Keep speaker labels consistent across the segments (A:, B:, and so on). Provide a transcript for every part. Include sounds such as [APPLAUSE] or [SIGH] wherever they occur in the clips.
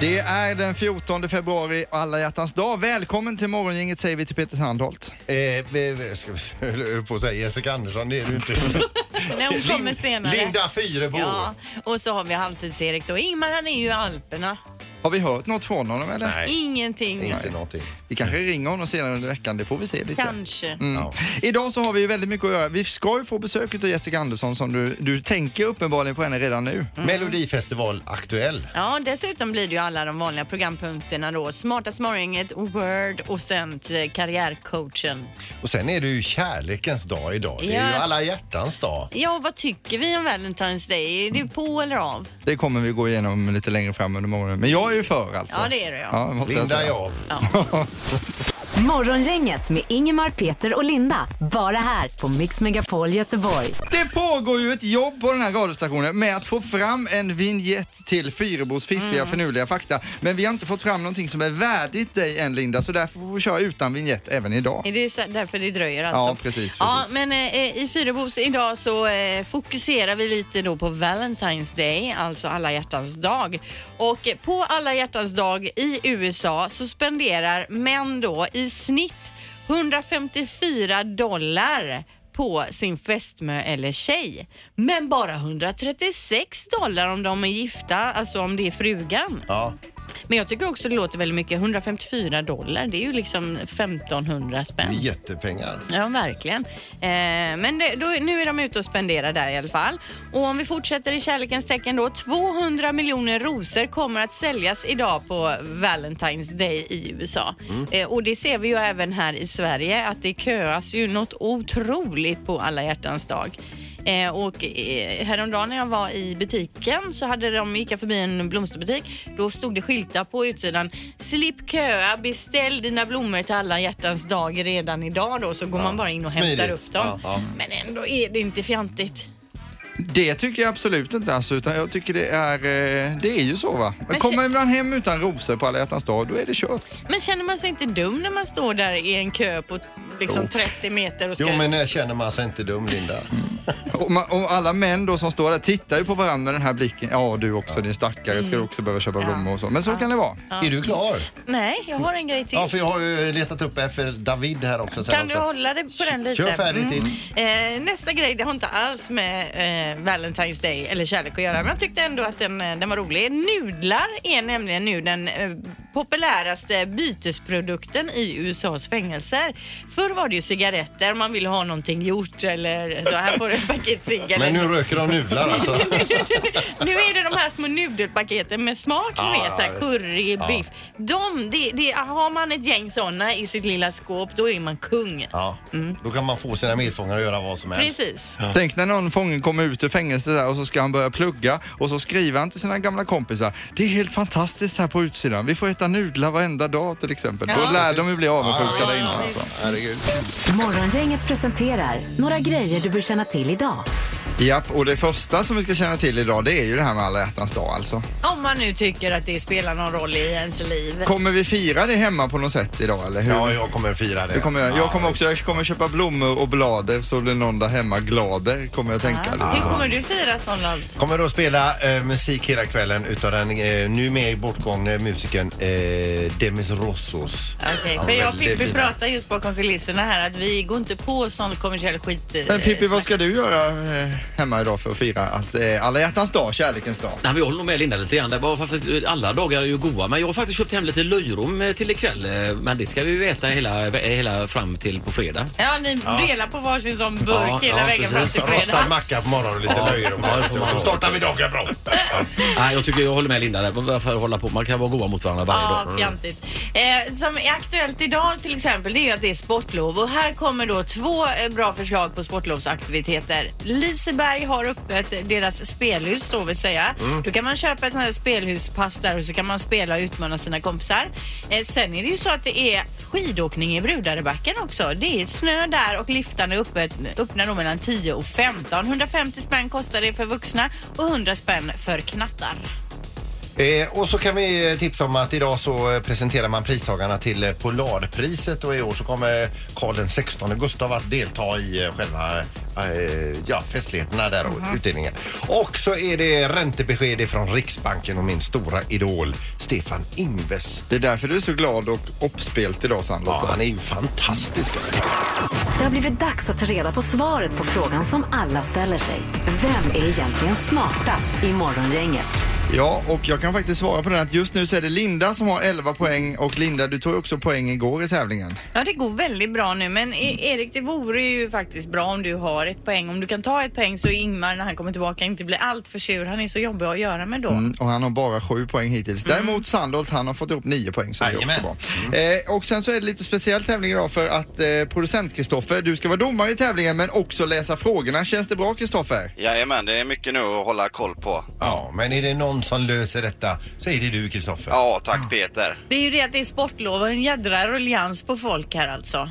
A: Det är den 14 februari, alla hjärtans dag. Välkommen till Morgongänget säger vi till Peter Sandholt.
B: Eh, vi- vi- ska vi se, [LAUGHS] jag höll på att säga Jessica Andersson, det är du inte.
C: När hon [LAUGHS] kommer
B: Lin-
C: senare.
B: Linda Fyrebo.
C: Ja, och så har vi Halvtids-Erik då. Ingmar han är ju i Alperna.
A: Har vi hört något från honom eller?
B: Nej,
C: Ingenting.
B: inte någonting.
A: Vi kanske ringer honom senare under veckan, det får vi se lite.
C: Kanske.
B: Ja.
A: Idag så har vi ju väldigt mycket att göra. Vi ska ju få besök av Jessica Andersson som du, du tänker uppenbarligen på henne redan nu.
C: Mm.
B: Melodifestival aktuell.
C: Ja, dessutom blir det ju alla de vanliga programpunkterna då. Smartast morgongänget, Word och sen till karriärcoachen.
B: Och sen är det ju kärlekens dag idag. Det är
C: Ja.
B: ju alla hjärtans dag.
C: Ja, vad tycker vi om Valentine's Day? Är det på eller av?
A: Det kommer vi gå igenom lite längre fram under morgonen. Men jag är ju för alltså.
C: Ja, det är det, ja.
A: ja måste jag
B: Linda
A: säga.
B: är av.
D: Morgongänget med Ingemar, Peter och Linda. Bara här på Mix Megapol Göteborg.
A: Det pågår ju ett jobb på den här radiostationen med att få fram en vignett till Fyrebos fiffiga förnuliga fakta. Men vi har inte fått fram någonting som är värdigt dig än Linda, så därför får vi köra utan vignett även idag.
C: Är det så- därför det dröjer alltså?
A: Ja, precis,
C: Ja,
A: precis.
C: men eh, i Fyrebos idag så eh, fokuserar vi lite då på Valentine's Day, alltså alla hjärtans dag. Och eh, på alla hjärtans dag i USA så spenderar män då i snitt 154 dollar på sin fästmö eller tjej. Men bara 136 dollar om de är gifta, alltså om det är frugan.
B: Ja.
C: Men jag tycker också det låter väldigt mycket. 154 dollar, det är ju liksom 1500
B: Det är
C: spänn.
B: Jättepengar.
C: Ja, verkligen. Eh, men det, då, nu är de ute och spenderar där i alla fall. Och om vi fortsätter i kärlekens tecken då. 200 miljoner rosor kommer att säljas idag på Valentine's Day i USA. Eh, och det ser vi ju även här i Sverige att det köas ju något otroligt på alla hjärtans dag. Eh, och eh, häromdagen när jag var i butiken så hade de, gick jag förbi en blomsterbutik. Då stod det skyltar på utsidan. Slipp köa, beställ dina blommor till alla hjärtans dag redan idag då. Så går man bara in och hämtar
B: Smidigt.
C: upp dem.
B: Ja, ja.
C: Men ändå är det inte fjantigt.
A: Det tycker jag absolut inte alltså, utan jag tycker det är, eh, det är ju så va.
C: Men
A: Kommer man hem utan rosor på alla hjärtans dag, då är det kört.
C: Men känner man sig inte dum när man står där i en kö på liksom
B: Jo.
C: 30 meter och ska...
B: Jo, men när känner man sig inte dum,
C: [LAUGHS]
B: Linda?
A: Och, man, och alla män då som står där tittar ju på varandra med den här blicken. Ja, du också din stackare, ska du också behöva köpa blommor och så. Men så kan det vara.
B: Är du klar?
C: Nej, jag har en grej till.
B: Ja, för jag har ju eh, letat upp efter David här också. sen
C: Kan du
B: också.
C: hålla det på den lite?
B: Kör färdigt in.
C: Eh, nästa grej, det har inte alls med eh, Valentine's Day eller kärlek att göra, men jag tyckte ändå att den, eh, den var rolig. Nudlar är nämligen nu den eh, populäraste bytesprodukten i USAs fängelser. Förr var det ju cigaretter, man ville ha någonting gjort eller så här får du ett paket cigaretter.
B: Men nu röker de nudlar alltså.
C: [LAUGHS] Nu är det de här små nudelpaketen med smak,
B: Ja,
C: ni vet, så här
B: Ah, visst. Ah.
C: curry,
B: Ja.
C: biff. De, det, det, har man ett gäng sådana i sitt lilla skåp, då är man kung.
B: Ja, då kan man få sina medfångar att göra vad som helst.
C: Mm. Precis.
A: Tänk när någon fånge kommer ut ur fängelset där och så ska han börja plugga och så skriver han till sina gamla kompisar. Det är helt fantastiskt här på utsidan. Vi får äta nudlar varenda dag till exempel. Då
C: Ja.
A: lär de ju bli
B: Ja,
A: avundsjuka
B: ja,
A: där inne
B: ja,
A: alltså.
B: Herregud.
D: Morgongänget presenterar några grejer du bör känna till idag.
A: Japp, och det första som vi ska känna till idag det är ju det här med alla hjärtans dag alltså.
C: Om man nu tycker att det spelar någon roll i ens liv.
A: Kommer vi fira det hemma på något sätt idag eller hur?
B: Ja, jag kommer att fira det.
A: Det kommer jag. jag kommer också jag kommer köpa blommor och blader så blir någon där hemma glader kommer jag tänka.
B: Ah.
C: Hur kommer du fira sådant?
B: Kommer att spela eh, musik hela kvällen utav den eh, numera bortgångne musikern eh, Demis Rossos.
C: Okej,
B: Han
C: för
B: var
C: jag och
B: väldigt
C: Pippi
B: fin.
C: pratade just bakom kulisserna här att vi går inte på sån kommersiell skit. eh,
A: Men Pippi, vad ska du göra eh, hemma idag för att fira att eh, alla hjärtans dag, kärlekens dag?
E: Nej, vi håller nog med Linda lite grann. Det var, fast alla dagar är ju goda. Men jag har faktiskt köpt hem lite löjrom eh, till ikväll. eh, Men det ska vi ju äta hela, hela fram till på fredag.
C: Ja, ni delar på varsin sån burk
E: Ja,
C: hela
E: ja,
C: vägen fram
E: precis.
C: till
B: Rostad
C: fredag.
B: macka på morgonen och lite
E: Ja.
B: löjrom.
E: Ja, det får man
B: Så
E: ha.
B: startar vi dagen bra.
E: [LAUGHS] Nej, jag tycker jag håller med Linda där. Varför hålla på? Man kan vara goda mot varandra varje
C: Ja,
E: dag. Mm.
C: fjantigt. Eh, som är aktuellt idag till exempel det är ju att det är sportlov och här kommer då två eh, bra förslag på sportlovsaktiviteter. Liseberg har öppet deras spelhus då vill säga.
E: Mm.
C: Då kan man köpa ett sånt här spelhuspass där och så kan man spela och utmana sina kompisar. Eh, sen är det ju så att det är skidåkning i Brudarebacken också. Det är snö där och liftarna är öppet, öppna då mellan 10 och 15. 150 spänn kostar det för vuxna och 100 spänn för knattar.
B: Eh, och så kan vi eh, tipsa om att idag så eh, presenterar man pristagarna till eh, Polarpriset och i år så kommer Karl den 16 Gustav att delta i eh, själva eh, ja, festligheterna där
C: Mhm.
B: och utdelningen. Och så är det räntebesked från Riksbanken och min stora idol Stefan Ingves.
A: Det är därför du är så glad och uppspelt idag Sandra.
B: Ja, han är ju fantastisk.
D: Det har blivit dags att ta reda på svaret på frågan som alla ställer sig. Vem är egentligen smartast i Morgongänget?
A: Ja, och jag kan faktiskt svara på den att just nu så är det Linda som har 11 poäng och Linda, du tog ju också poäng igår i tävlingen.
C: Ja, det går väldigt bra nu, men E- Erik, det vore ju faktiskt bra om du har ett poäng. Om du kan ta ett poäng så Ingmar, när han kommer tillbaka, inte blir allt för sur. Han är så jobbig att göra med då.
A: Mm, och han har bara sju poäng hittills. Däremot Sandholt, han har fått ihop nio poäng så det är också
B: Jajamän.
A: bra. Eh, och sen så är det lite speciell tävling idag för att eh, producent Kristoffer, du ska vara domare i tävlingen men också läsa frågorna. Känns det bra Kristoffer?
F: Jajamän, det är mycket nu att hålla koll på.
B: Ja, men är det någon som löser detta så är det du, Kristoffer.
F: Ja, tack Peter.
C: Det är ju det att det är sportlov och en jädra ruljans på folk här alltså.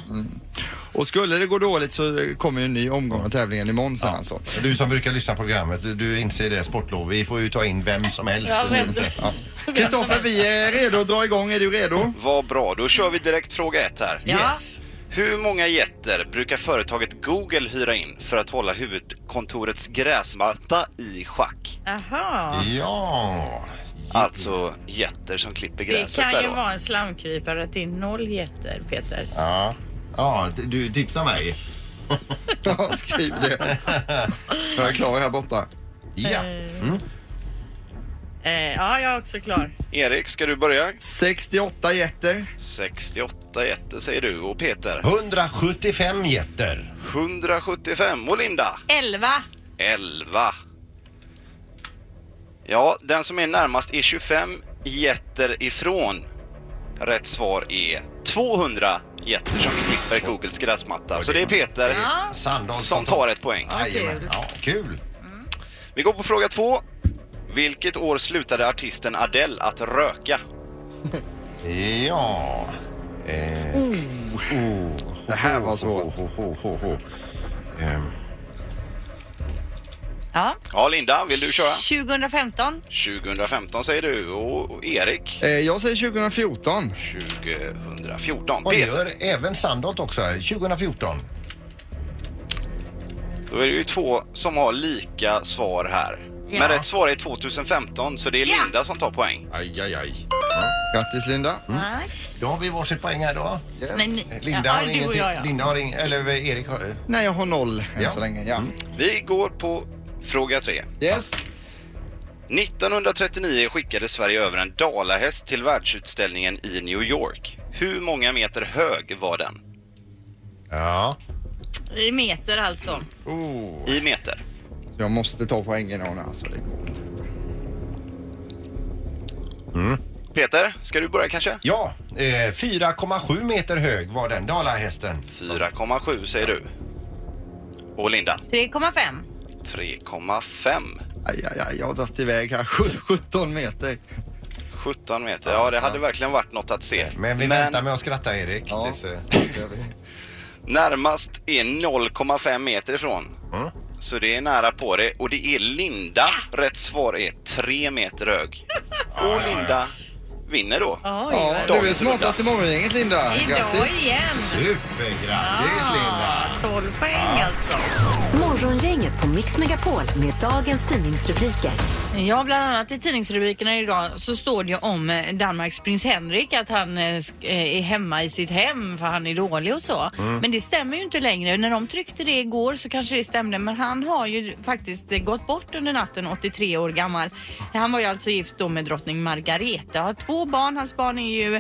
A: Och skulle det gå dåligt så eh, kommer ju en ny omgång av tävlingen imorgon sen alltså.
B: Du som brukar lyssna på programmet, du, du inser det, sportlov. Vi får ju ta in vem som helst.
C: Ja, vem-
B: Ja.
A: Kristoffer, vi är redo att dra igång. Är du redo?
F: Vad bra, då kör vi direkt fråga ett här.
C: Ja.
F: Hur många getter brukar företaget Google hyra in för att hålla huvudkontorets gräsmatta i schack?
C: Aha.
B: ja.
F: Alltså getter som klipper
C: Det
F: gräset
C: kan
F: där
C: ju
F: då.
C: vara en slamkrypare att det är noll getter, Peter.
B: Ja. Ja, d- du tipsar mig.
A: Ja, [LAUGHS] skriv det. Jag är klar här borta.
B: Ja.
C: Eh, ja, jag är också klar.
F: Erik, ska du börja?
A: 68 getter.
F: 68 getter säger du och Peter.
B: 175 getter.
F: 175 och Linda.
C: Elva.
F: 11. Ja, den som är närmast är 25 getter ifrån. Rätt svar är 200 getter som klipper Googles gräsmatta. Så det är Peter
C: Ah.
B: Sandahl
F: som tar ett poäng.
B: Jajamän. Ja, kul.
F: Vi går på fråga två. Vilket år slutade artisten Adele att röka?
B: Ja. Eh. Oh.
A: Det här var
B: Ho,
A: svårt.
B: ho, ho, ho, ho. Ehm,
C: Ja.
F: Ja, Linda, vill du Mm. köra?
C: 2015.
F: 2015 säger du och Erik
A: Eh, Jag säger 2014.
F: 2014.
B: Vad
F: Peter,
B: gör även Sandholt också? 2014.
F: då är det ju två som har lika svar här.
C: Ja.
F: Men rätt svar är 2015 så det är
C: Ja.
F: Linda som tar poäng.
B: Aj, aj, aj.
A: Grattis Linda.
C: Nej.
B: Då har vi varsitt poäng här då.
C: Nej, ni-
B: Linda
C: ja,
B: har
C: du och
B: ingenting.
C: jag, ja.
B: Linda har ing... Eller eh, Erik har...
A: Nej, jag har noll än
B: Ja.
A: så länge. Ja.
F: Vi går på fråga tre.
A: Yes.
F: 1939 skickade Sverige över en dalahäst till världsutställningen i New York. Hur många meter hög var den?
B: Ja.
C: I meter alltså.
B: Oh.
F: I meter.
A: Jag måste ta poängen här nu alltså. Det går inte.
F: Peter, ska du börja kanske?
B: Ja, eh, 4,7 meter hög var den dalahästen.
F: 4,7 säger du. Och Linda?
C: 3,5.
F: 3,5.
A: Aj, aj, aj, jag har dragit iväg här. [LAUGHS] Sju- 17 meter.
F: 17 meter. Ja, det hade verkligen varit något att se.
B: Men vi väntar med att skratta Erik.
A: Ja.
B: Tills, eh,
F: närmast är 0,5 meter ifrån.
B: Mm.
F: Så det är nära på det. Och det är Linda. Rätt svar är 3 meter hög. Och Linda vinner då.
A: Ja,
C: Oj,
A: du är smartast i morgongänget Linda.
C: Idag
A: Grattis.
C: igen.
B: Supergrattis Linda!
C: 12 poäng alltså.
D: Morgongänget på Mix Megapol med dagens tidningsrubriker.
C: Ja, bland annat i tidningsrubrikerna idag så står det ju om eh, Danmarks prins Henrik att han eh, sk- eh, är hemma i sitt hem för han är dålig och så. Men det stämmer ju inte längre. När de tryckte det igår så kanske det stämde men han har ju faktiskt eh, gått bort under natten, 83 år gammal. Han var ju alltså gift då med drottning Margareta har två barn. Hans barn är ju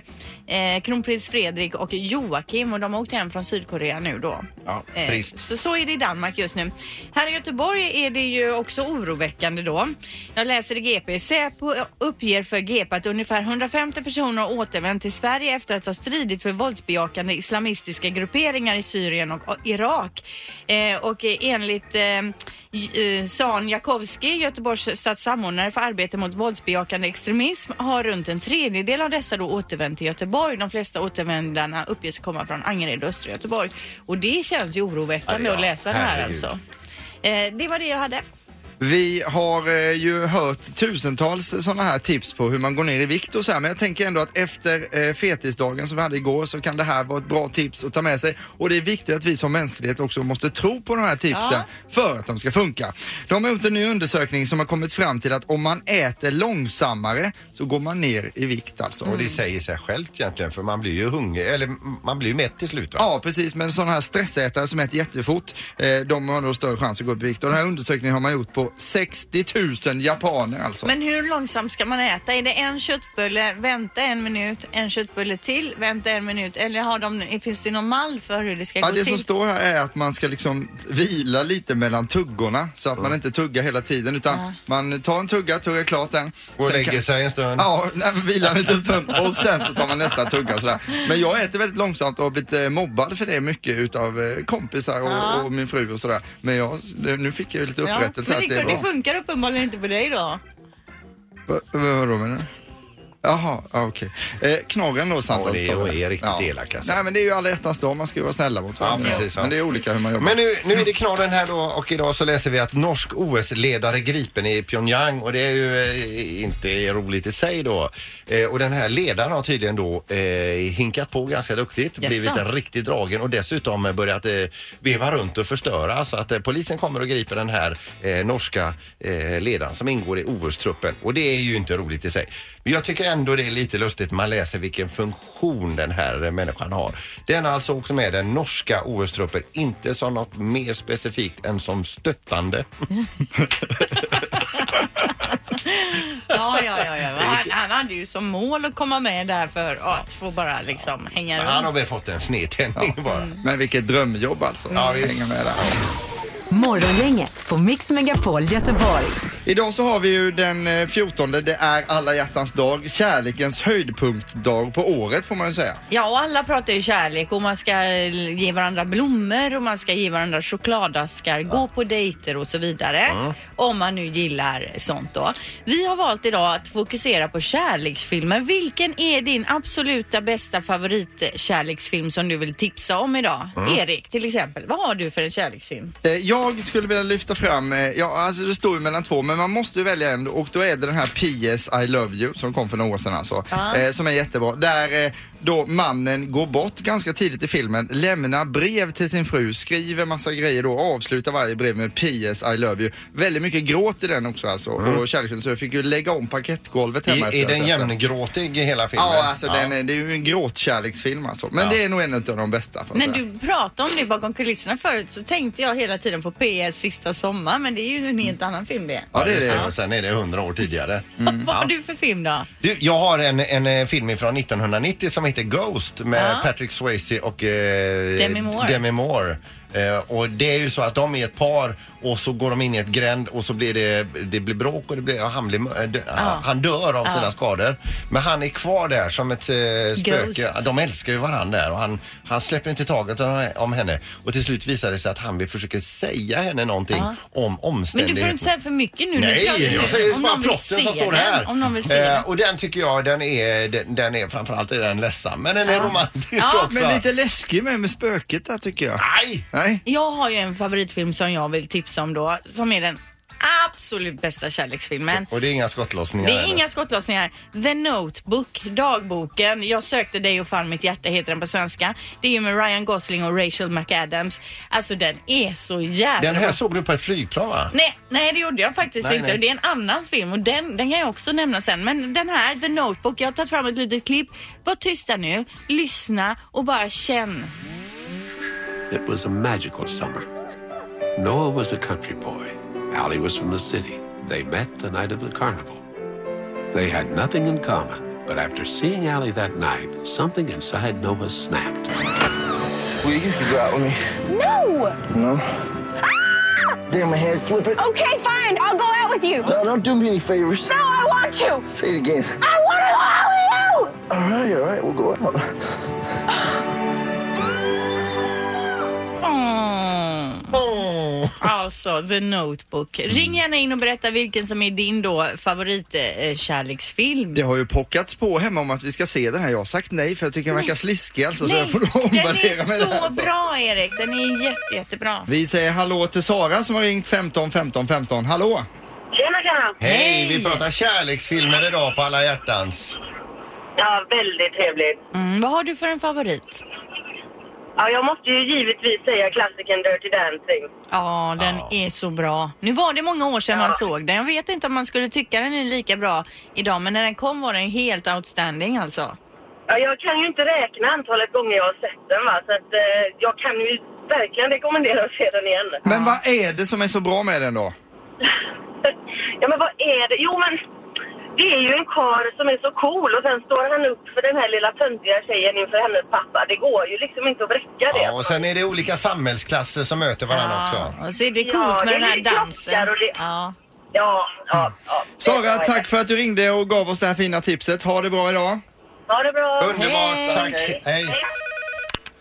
C: eh, kronprins Fredrik och Joakim och de har åkt hem från Sydkorea nu då.
B: Ja,
C: Eh,
B: trist.
C: Så, så är det i Danmark just nu. Här i Göteborg är det ju också oroväckande då. Jag läser i GP. Säpo uppger för GP att ungefär 150 personer har återvänt till Sverige efter att ha stridit för våldsbejakande islamistiska grupperingar i Syrien och och Irak. Eh, och eh, enligt eh, J- eh, San Jakowski, Göteborgs stadssamordnare för arbete mot våldsbejakande extremism, har runt en tredjedel av dessa då återvänt till Göteborg. De flesta återvändarna uppges komma från Angered och östra Göteborg. Och det känns ju oroväckande
B: Ja,
C: att läsa det här
B: herregud.
C: alltså. Eh, det var det jag hade.
A: Vi har eh, ju hört tusentals sådana här tips på hur man går ner i vikt och så här, men jag tänker ändå att efter eh, fetisdagen som vi hade igår så kan det här vara ett bra tips att ta med sig. Och det är viktigt att vi som mänsklighet också måste tro på de här tipsen
C: Ja.
A: för att de ska funka. De har gjort en ny undersökning som har kommit fram till att om man äter långsammare så går man ner i vikt alltså.
B: Och det säger sig självt egentligen för man blir ju hungrig, eller man blir ju mätt till slut va?
A: Ja, precis. Men sådana här stressätare som äter jättefort, eh, de har då större chans att gå upp i vikt. Och den här undersökningen har man gjort på 60 000 japaner alltså.
C: Men hur långsamt ska man äta? Är det en köttbulle, vänta en minut, en köttbulle till, vänta en minut? Eller har de, finns det någon mall för hur det ska
A: Ja,
C: gå
A: det
C: till?
A: som står här är att man ska liksom vila lite mellan tuggorna så att
B: Mm.
A: man inte tuggar hela tiden utan man tar en tugga, tuggar klart den.
B: Går och
A: Sen
B: lägger
A: kan-
B: sig en stund.
A: Ja, nej, men vilar en liten stund och sen så tar man nästa tugga och sådär. Men jag äter väldigt långsamt och har blivit eh, mobbad för det mycket utav eh, kompisar och, och min fru och sådär. Men jag, nu fick jag ju lite
C: Ja,
A: upprättelse
C: men
A: att det är
C: det
A: bra.
C: funkar uppenbarligen inte på dig då.
A: Va- va- Vadå menar du? Jaha, ja, okej. Eh, knorren då Sandra.
B: Ja, det är- och är riktigt
A: Ja.
B: elak, alltså.
A: Nej men det är ju alla hjärtans dag, man ska ju vara snälla mot
B: Ja,
A: varandra.
B: precis, ja.
A: Men det är olika hur man jobbar.
B: Men nu, nu är det knorren här då och idag så läser vi att norsk OS-ledare gripen i Pyongyang och det är ju eh, inte roligt i sig då. Eh, och den här ledaren har tydligen då eh, hinkat på ganska duktigt,
C: Jaså?
B: blivit riktigt dragen och dessutom eh, börjat eh, veva runt och förstöra så att eh, polisen kommer och griper den här eh, norska eh, ledaren som ingår i OS-truppen och det är ju inte roligt i sig. Men jag tycker ändå det är lite lustigt man läser vilken funktion den här eh, människan har. Den har alltså också med den norska OS-truppen, inte som något mer specifikt än som stöttande.
C: Ja, ja, ja. ja. Han, han hade ju som mål att komma med där för att få bara liksom hänga runt.
B: Han har väl fått en snedtändning bara.
A: Men vilket drömjobb alltså. Ja, vi hänger med där.
D: Morgongänget på Mix Megapol Göteborg.
A: Idag så har vi ju den eh, 14, det är alla hjärtans dag, kärlekens höjdpunktdag på året får man ju säga.
C: Ja, och alla pratar ju kärlek och man ska eh, ge varandra blommor och man ska ge varandra chokladaskar, gå på dejter och så vidare. Om man nu gillar sånt då. Vi har valt idag att fokusera på kärleksfilmer. Vilken är din absoluta bästa favoritkärleksfilm som du vill tipsa om idag? Erik, till exempel. Vad har du för en kärleksfilm?
A: Eh, Jag skulle vilja lyfta fram, eh, ja alltså det står ju mellan två men man måste ju välja en och då är det den här PS I Love You som kom för några år sedan alltså. Eh, som är jättebra. Där eh, då mannen går bort ganska tidigt i filmen, lämnar brev till sin fru, skriver massa grejer då och avslutar varje brev med PS I Love You. Väldigt mycket gråt i den också alltså och kärleksfull så jag fick ju lägga om parkettgolvet hemma
B: Är, är
A: efter
B: Mm. den
A: jag sett
B: jämngråtig hela filmen?
A: Ja, alltså Den är, det är ju en gråtkärleksfilm alltså. Men det är nog en av de bästa. För att
C: När
A: säga.
C: du pratade om det bakom kulisserna förut så tänkte jag hela tiden på PS sista sommar men det är ju en helt
B: Mm.
C: annan film det.
A: Ja, det är
B: just
A: det.
B: Och sen är det hundra år tidigare.
C: Vad har du för film då?
B: Du, jag har en, en eh, film från 1990 som heter Ghost med Patrick Swayze och eh,
C: Demi Moore.
B: Demi Moore. Eh, och det är ju så att de är ett par och så går de in i ett gränd och så blir det, det blir bråk och det blir, ja, han, blir, mö- eh, dö- han dör av sina skador. Men han är kvar där som ett eh,
C: Ghost.
B: spöke. De älskar ju varandra där och han, han släpper inte taget om- om henne. Och till slut visar det sig att han vill försöka säga henne någonting om
G: Men du
B: omständigheterna.
G: får inte säga för mycket nu. nu
B: Nej,
G: pratar du.
B: jag säger
G: Om
B: bara
G: någon vill
B: plotten
G: se
B: som står
G: den,
B: här.
G: Om någon vill se
B: Eh,
G: den.
B: och den tycker jag, den är, den, den är framförallt är den ledsam. Men den är romantisk också.
A: Men lite läskig med, med spöket där tycker jag.
B: Nej!
A: Nej.
C: Jag har ju en favoritfilm som jag vill tipsa om då, som är den absolut bästa kärleksfilmen.
B: Och det är inga skottlossningar.
C: Det är
B: eller?
C: inga skottlossningar. The Notebook, dagboken, Jag sökte dig och fann mitt hjärta heter den på svenska. Det är ju med Ryan Gosling och Rachel McAdams. Alltså den är så jävla
B: Den här
C: bra.
B: såg du på ett flygplan va?
G: Nej, nej, det gjorde jag faktiskt
B: Nej,
G: inte.
B: nej.
G: Det är en annan film och den, den kan jag också nämna sen. Men den här, The Notebook, jag har tagit fram ett litet klipp.
C: Var tysta nu, lyssna och bara känn.
H: It was a magical summer. Noah was a country boy. Allie was from the city. They met the night of the carnival. They had nothing in common, but after seeing Allie that night, something inside Noah snapped.
I: Will you can go out with me? No. No? Damn, my head's slipping.
J: Okay, fine. I'll go out with you. No,
I: No, don't do me any favors.
J: I want to.
I: Say it again.
J: I want to go out with you.
I: All right, all right, we'll go out.
C: Åh.
B: Åh.
C: Ja, alltså The Notebook.
A: Mm.
C: Ring gärna in och berätta vilken som är din då
G: eh,
C: favoritkärleksfilm.
A: Det har ju pockats på hemma om att vi ska se den här. Jag har sagt nej för jag tycker den verkar sliskig alltså. så jag får nog
C: den
A: omvärdera mig
C: är
A: där,
C: så
A: alltså.
C: bra Erik. Den är jätte, jättebra.
A: Vi säger hallå till Sara som har ringt 15 15 15. Hallå!
K: Tjena, tjena!
B: Hej! Vi pratar kärleksfilmer idag på alla hjärtans.
K: Ja, väldigt trevligt.
C: Mm, vad har du för en favorit?
K: Ja, jag måste ju givetvis säga klassikern Dirty Dancing.
C: Ja, den är så bra. Nu var det många år sedan man såg den. Jag vet inte om man skulle tycka den är lika bra idag, men när den kom var den ju helt outstanding alltså.
K: Ja, jag kan ju inte räkna antalet gånger jag har sett den, va? så att, eh, jag kan ju verkligen rekommendera att se den igen.
A: Men vad är det som är så bra med den då?
K: [LAUGHS] Ja, men vad är det? Jo, men det är ju en karl som är så cool och sen står han upp för den här lilla töntiga tjejen inför hennes pappa. Det går ju liksom inte att bräcka det.
B: Ja, och sen är det olika samhällsklasser som möter varandra också.
C: Och så är det
K: Ja,
C: coolt med
K: det
C: den här
K: ligger
C: dansen.
K: och det-
C: Ja.
K: Ja, ja, ja.
A: Sara, tack för att du ringde och gav oss det här fina tipset. Ha det bra idag!
K: Ha det bra!
B: Underbart, tack. Hej.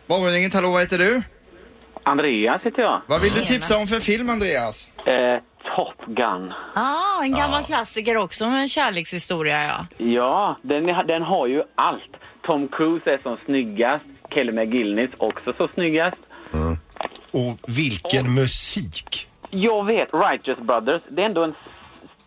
A: Morgongänget, hallå vad heter du?
L: Andreas heter jag.
A: Vad vill du tipsa om för film Andreas?
L: Eh, Top Gun.
C: Ah, en gammal klassiker också med en kärlekshistoria ja.
L: Ja, den, är- den har ju allt. Tom Cruise är som snyggast. Kelly McGillness också så snyggast.
B: Och vilken musik!
L: Jag vet, Righteous Brothers. Det är ändå en s-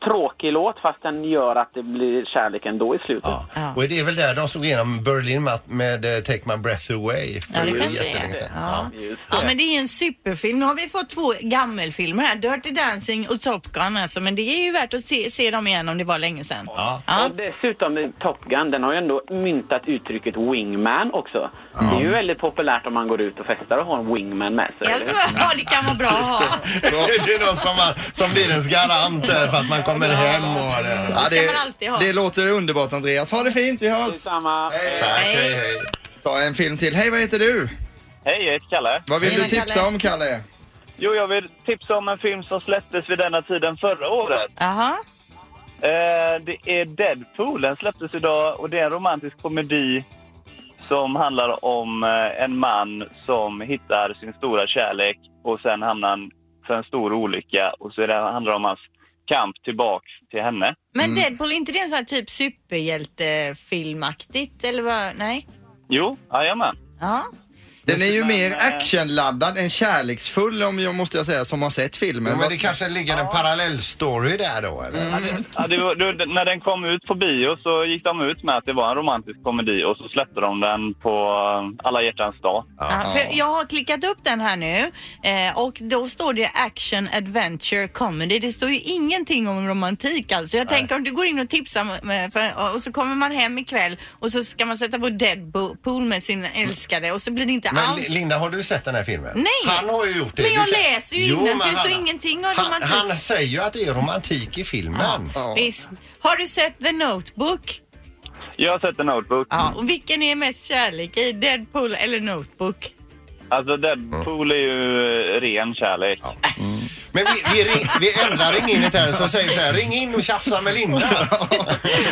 L: tråkig låt fast den gör att det blir kärlek ändå i slutet.
B: Och det är väl där de slog igenom Berlin med, med eh, Take My Breath Away.
C: Ja, det kanske det är.
B: jättelänge sedan.
C: Ja. Ja men det är ju en superfilm. Nu har vi fått två gammelfilmer här. Dirty Dancing och Top Gun alltså. Men det är ju värt att se, se dem igen om det var länge sedan.
L: Och dessutom eh, Top Gun, den har ju ändå myntat uttrycket wingman också. Det är ju väldigt populärt om man går ut och festar och har en wingman med sig. eller hur?
C: Ja, det kan vara bra att ha.
B: det är någon som, har- som blir ens garant där för att man kommer hem och...
A: Ja, det,
C: man alltid ha.
A: det låter underbart Andreas. Ha det fint, vi hörs!
L: Detsamma.
B: Tack, hej, hej.
A: Ta en film till. Hej, vad heter du?
M: Hej, jag heter Kalle.
A: Vad vill
M: Tjena,
A: du tipsa
M: Kalle.
A: om Kalle?
M: Jo, jag vill tipsa om en film som släpptes vid denna tiden förra året.
C: Aha.
M: Eh, det är Deadpool. Den släpptes idag och det är en romantisk komedi som handlar om eh, en man som hittar sin stora kärlek och sen hamnar han för en stor olycka och så är det, handlar det om hans kamp tillbaks till henne.
C: Men
A: Mm.
C: Deadpool, är inte det en sån här typ superhjältefilmaktigt eller vad? Nej?
M: Jo, jajamän.
C: Ja.
A: Den är ju
M: Men,
A: mer
M: eh,
A: actionladdad än kärleksfull om jag måste jag säga som har sett filmen.
B: Jo, men
A: Vad-
B: det kanske ligger en parallellstory där då, eller?
C: Mm. Alltså,
M: Ja, det var, det, när den kom ut på bio så gick de ut med att det var en romantisk komedi och så släppte de den på eh, alla hjärtans dag.
C: Ja, för jag har klickat upp den här nu eh, och då står det action adventure comedy. Det står ju ingenting om romantik alltså. Jag tänker om du går in och tipsar med, för, och så kommer man hem ikväll och så ska man sätta på Deadpool med sin älskade och så blir det inte
B: Men
C: alls.
B: Li- Linda, har du sett den här filmen?
C: Nej.
B: Han har ju gjort det.
C: Men
B: Du
C: jag
B: kan-
C: läser ju
B: Jo, men
C: innantill, det står
B: han-
C: ingenting om
B: Han,
C: romantik.
B: han säger ju att det är romantik i filmen.
C: Visst. Har du sett The Notebook?
M: Jag har sett en notebook.
C: Ja.
B: Mm.
C: Och vilken är mest kärlek i? Deadpool
B: [LAUGHS]
C: eller Notebook?
M: Alltså Deadpool är ju eh, ren kärlek.
B: Men vi, vi, ring, vi ändrar ringinget här så säger så här, ring in och tjafsa med
C: [LAUGHS]
B: Linda.
C: Ja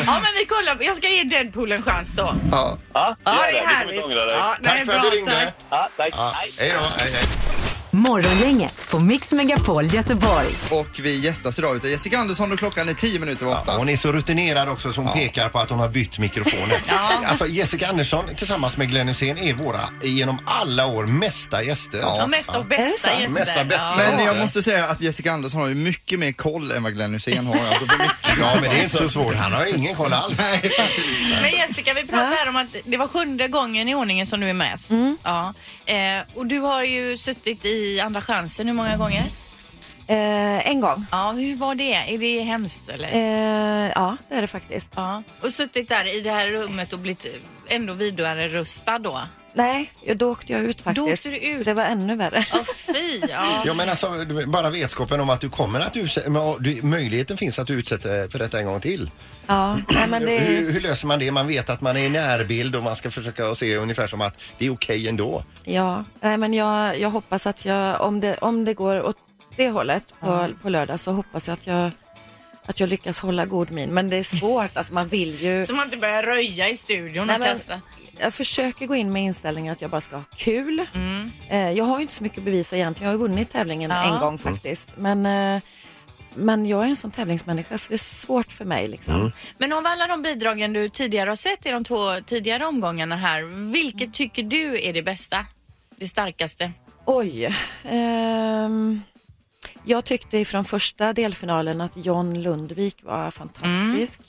C: men vi kollar, jag ska ge Deadpool en chans då.
A: Ja.
M: Ja,
C: Ja,
M: gör
C: det är
M: Du kommer
C: härligt.
M: inte ångra dig.
C: Ja,
B: Tack
C: nej,
B: för att du
C: bra,
B: ringde.
C: tack.
M: Ja, tack.
B: Hej då. Hej, hej.
D: Morgongänget på Mix Megapol Göteborg.
A: Och vi gästas idag utav Jessica Andersson och klockan är 10 minuter över 8.
B: Hon är så rutinerad också som pekar på att hon har bytt mikrofon. Alltså Jessica Andersson tillsammans med Glenn Hysén är våra genom alla år mesta gäster.
A: Ja, mesta och
C: bästa Är det så? gäster.
B: Mesta, bästa.
A: Men jag måste säga att Jessica Andersson har ju mycket mer koll än vad Glenn Hysén har. Alltså på
B: [LAUGHS]
A: mycket.
B: Ja, men det är inte så svårt. Han har ingen koll alls.
C: Men Jessica, vi pratade här om att det var sjunde gången i ordningen som du är med.
N: Mm.
C: Ja. Eh, och du har ju suttit i Andra chansen hur många gånger?
N: Eh, en gång.
C: Ja, hur var det? Är det hemskt eller?
N: Eh, ja, det är det faktiskt.
C: Ja. Och suttit där i det här rummet och blivit ändå vidare röstad då?
N: Nej, ja, då åkte jag ut faktiskt.
C: åkte du
N: ut? För det var ännu värre.
C: Fy,
N: [LAUGHS]
C: ja.
B: Ja men alltså du- bara vetskapen om att du kommer att utsätta, men, du- möjligheten finns att du utsätter för detta en gång till.
N: [CLEARS THROAT] Ja, nej, men det
B: Hur, hur löser man det? Man vet att man är i närbild och man ska försöka se ungefär som att det är okej ändå.
N: Ja, nej, men jag, jag hoppas att jag, om det, om det går åt det hållet på, på lördag så hoppas jag att jag att jag lyckas hålla god min. Men det är svårt, alltså man vill ju...
C: Så man inte börjar röja i studion
N: Nej,
C: och
N: men
C: kasta.
N: Jag försöker gå in med inställningen att jag bara ska ha kul. Eh, jag har ju inte så mycket att bevisa egentligen. Jag har ju vunnit tävlingen
C: Ja.
N: en gång faktiskt. Men, eh, men jag är en sån tävlingsmänniska så det är svårt för mig liksom.
C: Men av alla de bidragen du tidigare har sett i de två tidigare omgångarna här, vilket tycker du är det bästa? Det starkaste?
N: Oj. ehm, jag tyckte ifrån första delfinalen att John Lundvik var fantastisk.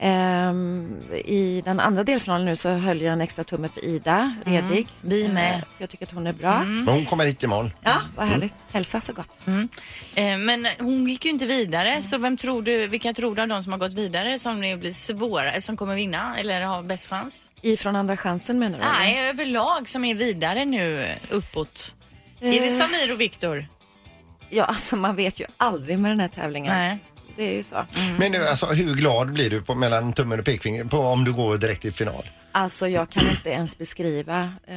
N: Ehm, I den andra delfinalen nu så höll jag en extra tumme för Ida
C: Mm.
N: Redig.
C: Vi med.
N: Eh, för jag tycker att hon är bra.
C: Mm.
B: Men hon kommer hit imorgon.
N: Ja, vad härligt. Hälsa så gott.
C: Eh, Men hon gick ju inte vidare,
N: Mm.
C: så vem tror du, vilka tror du av de som har gått vidare som det blir svåra, som kommer vinna eller har bäst chans?
N: Ifrån andra chansen menar du? eller?
C: Nej, överlag som är vidare nu uppåt. Är det
N: Eh.
C: Samir och Viktor?
N: Ja, alltså man vet ju aldrig med den här tävlingen.
C: Nej.
N: Det är ju så.
B: Men nu, alltså, hur glad blir du på, mellan tummen och pekfingret på om du går direkt till final?
N: Alltså jag kan inte ens beskriva eh,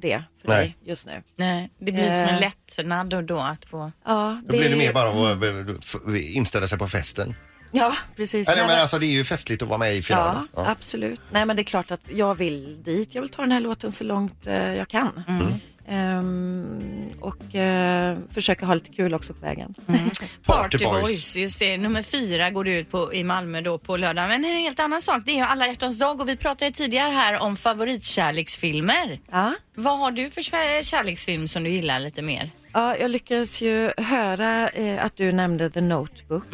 N: det för
B: Nej.
N: dig just nu.
C: Nej, det blir som
N: Eh.
C: en lättnad och då att få...
N: Ja,
B: Då blir det mer bara att eh, f- inställa sig på festen.
N: Ja, precis.
B: Eller,
N: Nej,
B: men alltså, det är ju festligt att vara med i
N: Ja,
B: finalen.
N: absolut. Nej, men det är klart att jag vill dit. Jag vill ta den här låten så långt eh, jag kan. Ehm, och eh, försöka ha lite kul också på vägen.
C: Party Boys, just det. Nummer fyra går det ut på, i Malmö då på lördag. Men en helt annan sak, det är ju alla hjärtans dag och vi pratade ju tidigare här om favoritkärleksfilmer.
N: Ja.
C: Vad har du för kär- kärleksfilm som du gillar lite mer?
N: Ja, jag lyckades ju höra eh, att du nämnde The Notebook,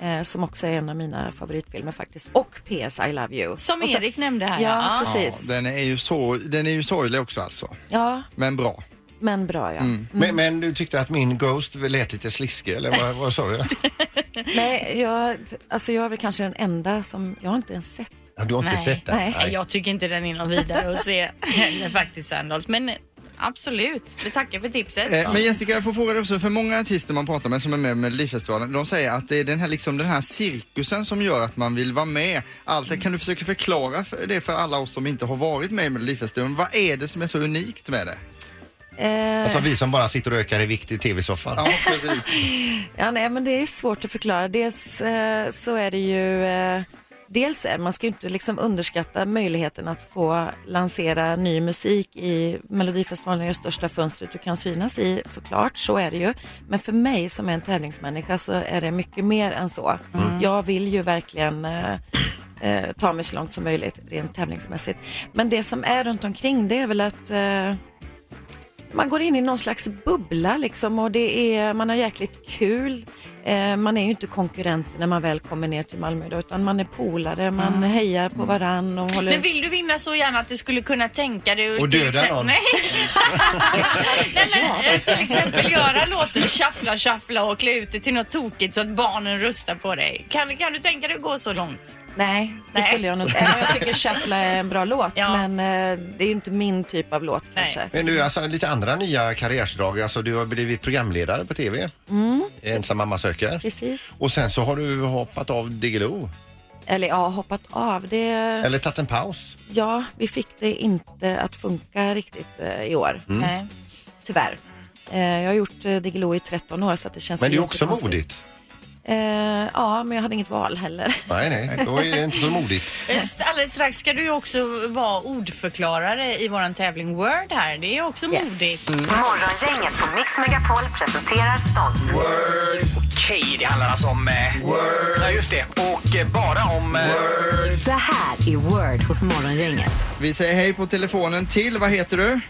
N: eh, som också är en av mina favoritfilmer faktiskt. Och PS I Love You.
C: Som
N: Och så-
C: Erik nämnde här.
N: Ja, precis.
A: Ja, den, är ju så, den är ju sorglig också alltså.
N: Ja,
A: Men bra.
N: men bra ja.
B: Men, men du tyckte att min Ghost lät lite sliskig, eller vad, vad sa
N: [LAUGHS]
B: du?
N: Nej, jag, alltså jag är väl kanske den enda som jag har inte ens sett.
B: Ja, Du har inte
C: Nej.
B: sett den?
N: Nej.
C: Nej, jag tycker inte den är någon vidare att se [LAUGHS] heller faktiskt Sandholt. Men eh, absolut, vi tackar för tipset.
A: Eh, Men Jessica, jag får fråga dig också, för många artister man pratar med som är med i Melodifestivalen, de säger att det är den här, liksom, den här cirkusen som gör att man vill vara med. Allt det, kan du försöka förklara för det för alla oss som inte har varit med i Melodifestivalen? Vad är det som är så unikt med det?
N: Eh,
B: Alltså vi som bara sitter och ökar i vikt i tv-soffan.
A: Ja, precis.
N: Ja, nej, men det är svårt att förklara. Dels eh, så är det ju... Eh, dels är man ska ju inte liksom underskatta möjligheten att få lansera ny musik i Melodifestivalen, är det största fönstret du kan synas i såklart, så är det ju. Men för mig som är en tävlingsmänniska så är det mycket mer än så. Jag vill ju verkligen eh, eh, ta mig så långt som möjligt rent tävlingsmässigt. Men det som är runt omkring det är väl att eh, man går in i någon slags bubbla liksom och det är, man har jäkligt kul. Eh, man är ju inte konkurrent när man väl kommer ner till Malmö då, utan man är polare, man hejar på varann och håller...
C: Men vill du vinna så gärna att du skulle kunna tänka dig
N: Och
C: till
N: döda
C: exempel-
N: någon. [LAUGHS]
C: Nej. Nej men, eh, till exempel göra låten Shuffla shuffla och klä ut det till något tokigt så att barnen röstar på dig. Kan, kan du tänka dig att gå så långt?
N: Nej, det
C: Nej.
N: skulle jag nog inte. Även om Jag tycker Shuffla är en bra låt, men eh, det är ju inte min typ av låt kanske.
B: Men du, alltså lite andra nya karriärsdrag. Alltså du har blivit programledare på tv.
N: Mm,
B: Ensam mamma söker.
N: precis.
B: Och sen så har du hoppat av Diggiloo.
N: Eller ja, hoppat av. Det...
B: Eller tagit en paus.
N: Ja, vi fick det inte att funka riktigt eh, i år.
B: Mm.
N: Nej. Tyvärr. Eh, jag har gjort eh, Diggiloo i 13 år så att det känns
B: Men det är också
N: jättekonstigt.
B: modigt.
N: Eh, ja, men jag hade inget val heller.
B: Nej, nej, då är det inte så modigt.
C: Eh, st- Alldeles strax ska du ju också vara ordförklarare i våran tävling Word här. Det är också modigt.
D: Morgongänget på Mix Megapol presenterar stolt.
O: Word. Okej, det handlar alltså om... Eh, Word. Ja, just det. Och eh, bara om... Eh, Word.
D: Det här är Word hos Morgongänget.
A: [LAUGHS] Vi säger hej på telefonen till, vad heter du?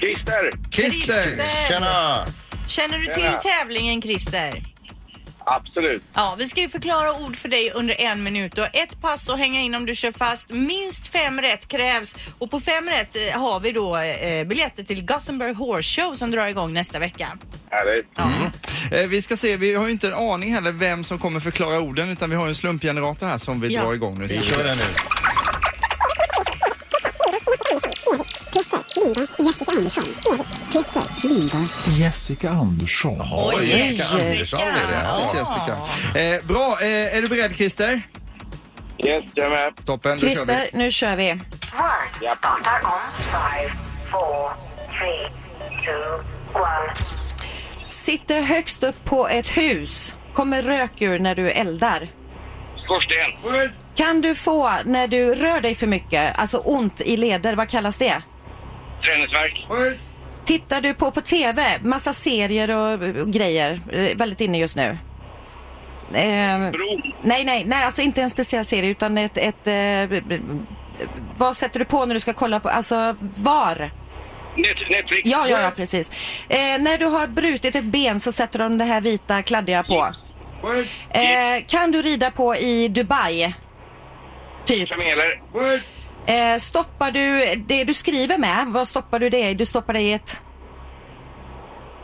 P: Christer!
A: Christer!
C: Christer. Tjena. Känner du till
P: Tjena.
C: tävlingen Christer?
P: Absolut.
C: Ja, vi ska ju förklara ord för dig under en minut och ett pass att hänga in om du kör fast. Minst fem rätt krävs och på fem rätt eh, har vi då eh, biljetter till Gothenburg Horse Show som drar igång nästa vecka.
P: Härligt.
A: Eh, Vi ska se, vi har ju inte en aning heller vem som kommer förklara orden utan vi har en slumpgenerator här som vi
C: Ja.
A: drar igång nu.
B: Vi kör den nu.
J: Jessica Andersson. Peter Lindberg.
A: Jessica Andersson.
B: Jaha, Oj, Jessica Jessica. Andersson blir det. Ja.
A: Precis, Jessica. Eh, bra, eh, är du beredd Christer?
P: Yes, jag är med.
A: Toppen, då kör
N: Christer,
A: vi.
N: nu kör vi.
D: Word startar om 5, 4, 3, 2,
N: Sitter högst upp på ett hus. kommer rök ur när du eldar?
P: Skorsten.
N: Kan du få när du rör dig för mycket, alltså ont i leder, vad kallas det?
P: Träningsvärk.
N: Tittar du på på TV, massa serier och, och grejer, eh, väldigt inne just nu? Eh, nej, nej, nej, alltså inte en speciell serie utan ett, ett eh, b- b- vad sätter du på när du ska kolla på, alltså var?
P: Net- Netflix.
N: Ja, ja, ja, precis. Eh, när du har brutit ett ben så sätter de det här vita kladdiga på. Eh, kan du rida på i Dubai? Typ.
P: Kameler.
N: Eh, stoppar du det du skriver med, vad stoppar du det i? Du stoppar det i ett,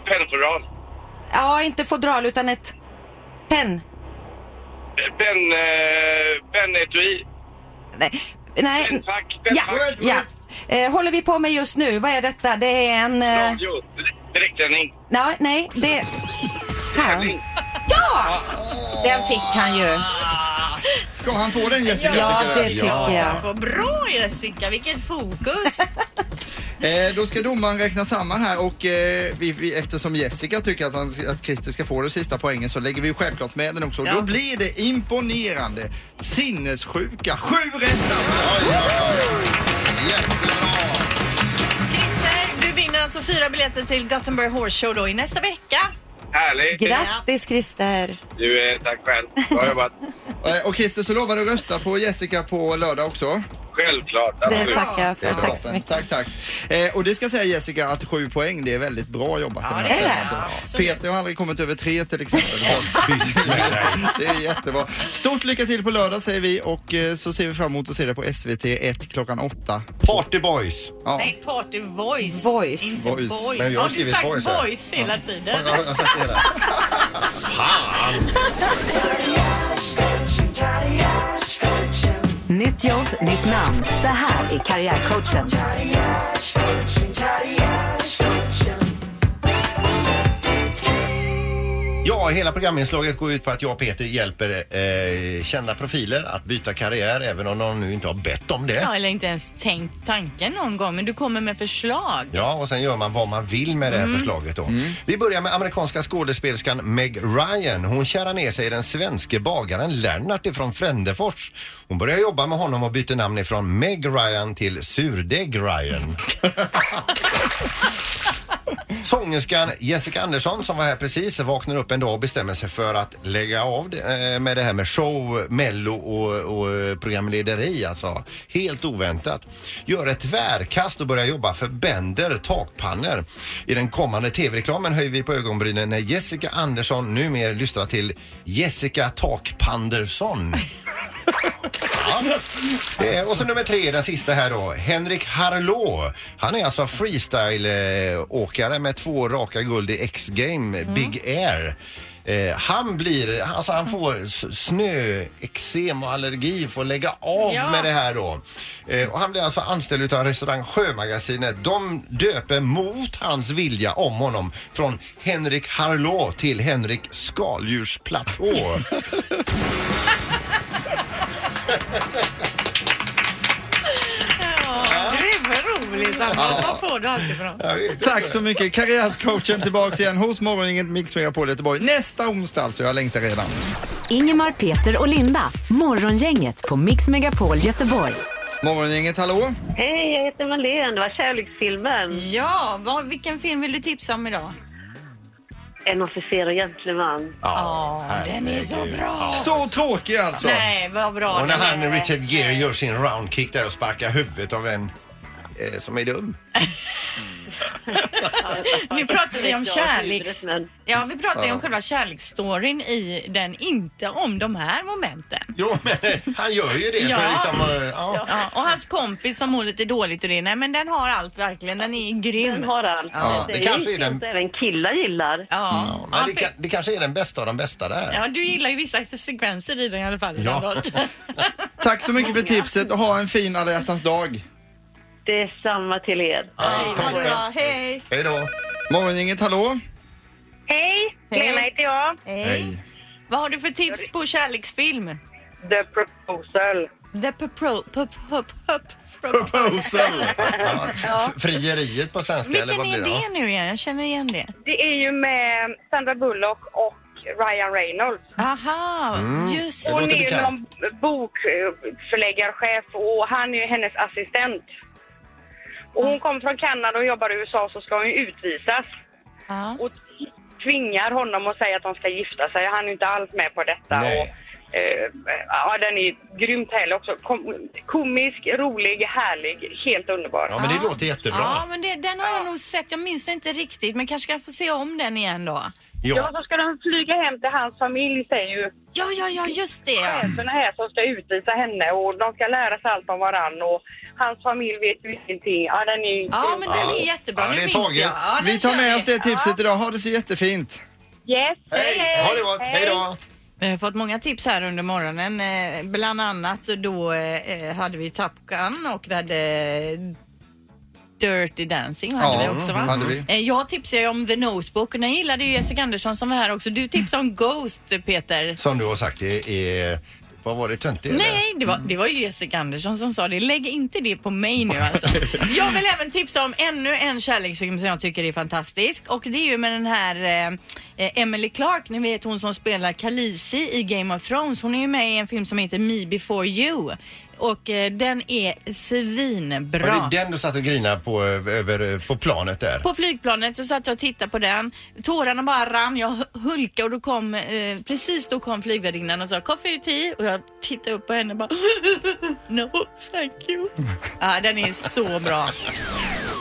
P: Pennfodral.
N: ja inte fodral utan ett penn.
P: Ben... Eh, Benetui.
N: Nej. Nej. ja, ja. Eh, håller vi på med just nu, vad är detta? Det är en... Eh,
P: Radio. Direktsändning.
N: nej, nej, det... Fan. Ja! Den fick han ju.
A: Ska han få den Jessica?
N: Ja,
A: tycker du?
N: det tycker Ja. jag.
C: Vad bra Jessica, vilket fokus!
A: Eh, då ska domaren räkna samman här och eh, vi, vi, eftersom Jessica tycker att, han, att Christer ska få den sista poängen så lägger vi ju självklart med den också.
C: Ja.
A: Då blir det imponerande sinnessjuka sju rätt
C: Christer, du vinner alltså fyra biljetter till Gothenburg Horse Show då i nästa vecka.
P: Härligt.
N: Grattis Christer!
P: Du, eh, tack själv.
E: [LAUGHS]
P: Bra jobbat.
A: Eh, och Christer så lovar du att rösta på Jessica på lördag också.
P: Självklart. absolut.
A: Det är bra. Tack, tack. Eh, och det ska säga Jessica att sju poäng, det är väldigt bra jobbat den här
Q: det är
A: kvällen,
Q: det.
A: alltså.
Q: Absolut.
A: Peter har aldrig kommit över tre till exempel. Så att- det är jättebra. Stort lycka till på lördag säger vi och eh, så ser vi fram emot att se det på SVT 1 klockan 8.
B: Party Boys.
A: Ja.
C: Nej, Party Voice.
N: Voice.
C: Inte
A: Voice.
C: Voice.
A: Men jag har
C: Har du
A: skrivit
C: sagt
A: voice
C: voice,
A: här.
C: hela tiden?
D: Nytt jobb, nytt namn. Det här är Karriärcoachen.
B: Ja, hela programinslaget går ut på att jag och Peter hjälper eh, kända profiler att byta karriär även om de nu inte har bett om det.
C: Ja, eller inte ens tänkt tanken någon gång, men du kommer med förslag.
B: Ja, och sen gör man vad man vill med det här
C: Mm.
B: förslaget då. Vi börjar med amerikanska skådespelerskan Meg Ryan. Hon kärar ner sig i den svenske bagaren Lennart ifrån Frändefors. Hon börjar jobba med honom och byter namn ifrån Meg Ryan till Surdeg Ryan. Sångerskan Jessica Andersson som var här precis vaknar upp en dag och bestämmer sig för att lägga av det, eh, med det här med show, mello och, och eh, programlederi. Alltså helt oväntat. Gör ett tvärkast och börjar jobba för bänder, takpannor. I den kommande tv-reklamen höjer vi på ögonbrynen när Jessica Andersson numera lyssnar till Jessica Takpandersson. Eh, och så nummer tre, den sista här då. Henrik Harlå. Han är alltså freestyle-åkare med två raka guld i X-game, Big Air. Eh, han blir, alltså han får s- snö, eksem och allergi, får lägga av
Q: Ja.
B: med det här då. Eh, och han blir alltså anställd utav restaurang Sjömagasinet. De döper mot hans vilja om honom från Henrik Harlå till Henrik Skaldjursplatå.
C: Ja, du är för rolig Sandra. Vad får du alltid från?
A: Tack så mycket. Karriärscoachen tillbaks igen hos Morgongänget Mix Megapol Göteborg nästa onsdag alltså. Jag längtar redan.
D: Ingemar, Peter och Linda. Morgongänget på Mix Megapol Göteborg.
A: Morgongänget, hallå?
R: Hej, jag heter Malin. Det var kärleksfilmen.
C: Ja, vad, vilken film vill du tipsa om idag?
R: En officer och gentleman.
B: Ja,
C: den är så
B: herregud.
C: bra.
B: Ja.
A: Så tråkig alltså.
C: Nej, vad bra
B: Och när
C: den är.
B: han Richard Gere gör sin roundkick där och sparkar huvudet av en eh, som är dum.
C: Nu pratar [LAUGHS] vi om
R: Jag har
C: kärleks...
R: huvudet,
C: Ja, vi pratar ju om
B: Ja.
C: själva kärleksstoryn i den, inte om de här momenten.
B: Jo, men [LAUGHS] han gör ju det för
C: Ja.
B: liksom... eh, Ja.
C: Ja, och hans kompis som mår lite dåligt och det. Nej, men den har allt verkligen. Den är grym. Den
R: har allt.
B: Ja, det kanske är den...
R: Även killar gillar.
C: Ja.
B: Ja, Mm, men det, kan, det kanske är den bästa av de bästa där.
C: Ja, du gillar ju vissa sekvenser i den i alla fall.
B: [LAUGHS] Ja.
C: Charlotte.
A: Tack så mycket för tipset och ha en fin alla hjärtans dag.
R: Det är samma till er.
C: Hej!
B: Hej då.
A: Morgongänget, hallå?
R: Hej! Lena heter jag.
A: Hej.
C: Vad har du för tips på kärleksfilm?
R: The Proposal.
C: The Propro... Pup, pup, pup.
B: Proposal. Ja, f- frieriet på svenska, eller
C: Vilken
B: vad blir
C: är
B: det?
C: det nu igen? Jag känner igen det.
K: Det är ju med Sandra Bullock och Ryan Reynolds.
C: Aha,
K: Mm.
C: just
K: Hon är ju någon bokförläggarchef och han är ju hennes assistent. Och
B: Mm.
K: hon kom från Kanada och jobbar i USA så ska hon ju utvisas. Och tvingar honom att säga att de ska gifta sig. Han är ju inte alls med på detta. Och, eh, ja, den är ju grymt härlig också. Kom, komisk, rolig, härlig, helt underbar.
B: Ja, men det låter jättebra.
C: Ja, men det, den har jag nog sett. Jag minns inte riktigt, men kanske ska jag få se om den igen då.
B: Ja. Ja,
K: så ska de flyga hem till hans familj säger ju
C: Ja, ja, ja, just det.
K: cheferna här som ska utvisa henne och de ska lära sig allt om varann och hans familj vet ju ingenting. Ja, den är ju
C: Ja, men den är jättebra.
A: Ja,
C: Nu
A: det är
C: minns
A: taget.
C: jag. Ja, den
A: Vi tar
C: kör
A: med
C: vi.
A: oss det tipset idag. Ha det så jättefint.
K: Yes.
B: Hej, hej. Ha det gott. Hej då.
C: Vi har fått många tips här under morgonen. Eh, Bland annat då eh, hade vi Top Gun och vi hade eh, Dirty Dancing hade
G: Ja,
C: vi också va?
G: hade vi.
C: Eh, Jag tipsade ju om The Notebook och den gillade ju Jessica Andersson som var här också. Du tipsade om Ghost Peter.
B: Som du har sagt, det är... Vad var det? Töntigt?
G: Nej, det var, det var ju Jessica Andersson som sa det. Lägg inte det på mig nu
B: [LAUGHS]
G: alltså.
C: Jag vill även tipsa om ännu en kärleksfilm som jag tycker är fantastisk och det är ju med den här eh, eh, Emily Clark, ni vet hon som spelar Khaleesi i Game of Thrones. Hon är ju med i en film som heter Me Before You och eh, den är svinbra.
B: Var det den du satt och grinade på, eh, över, eh, på planet där?
C: På flygplanet så satt jag och tittade på den. Tårarna bara rann, jag hu- hulkade och då kom, eh, precis då kom flygvärdinnan och sa coffee or tea och jag tittade upp på henne och bara [LAUGHS] no thank you. Ja, den är så bra.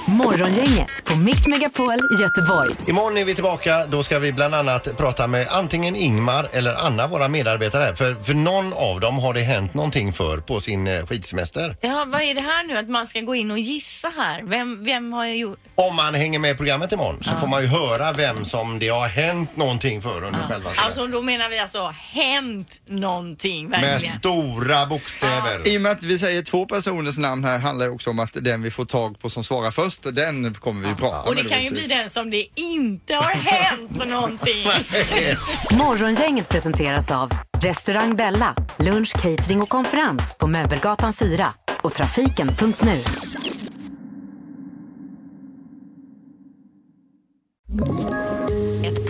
D: Morgongänget på Mix Megapol Göteborg.
B: Imorgon är vi tillbaka. Då ska vi bland annat prata med antingen Ingmar eller Anna, våra medarbetare här. För, för någon av dem har det hänt någonting för på sin eh, skidsemester.
G: Ja, vad är det här nu att man ska gå in och gissa här? Vem, vem har jag gjort?
B: Om man hänger med i programmet imorgon så får man ju höra vem som det har hänt någonting för under själva
G: Alltså då menar vi alltså hänt någonting
B: Med
G: verkligen.
B: stora bokstäver.
A: I och med att vi säger två personers namn här handlar det också om att den vi får tag på som svarar först, den kommer vi ju prata
G: Och det
A: med
G: kan ju bli
A: givetvis.
G: den som det inte har hänt någonting.
D: Morgongänget presenteras av Restaurang Bella, lunch, catering och konferens på Möbelgatan 4 och trafiken.nu. Ett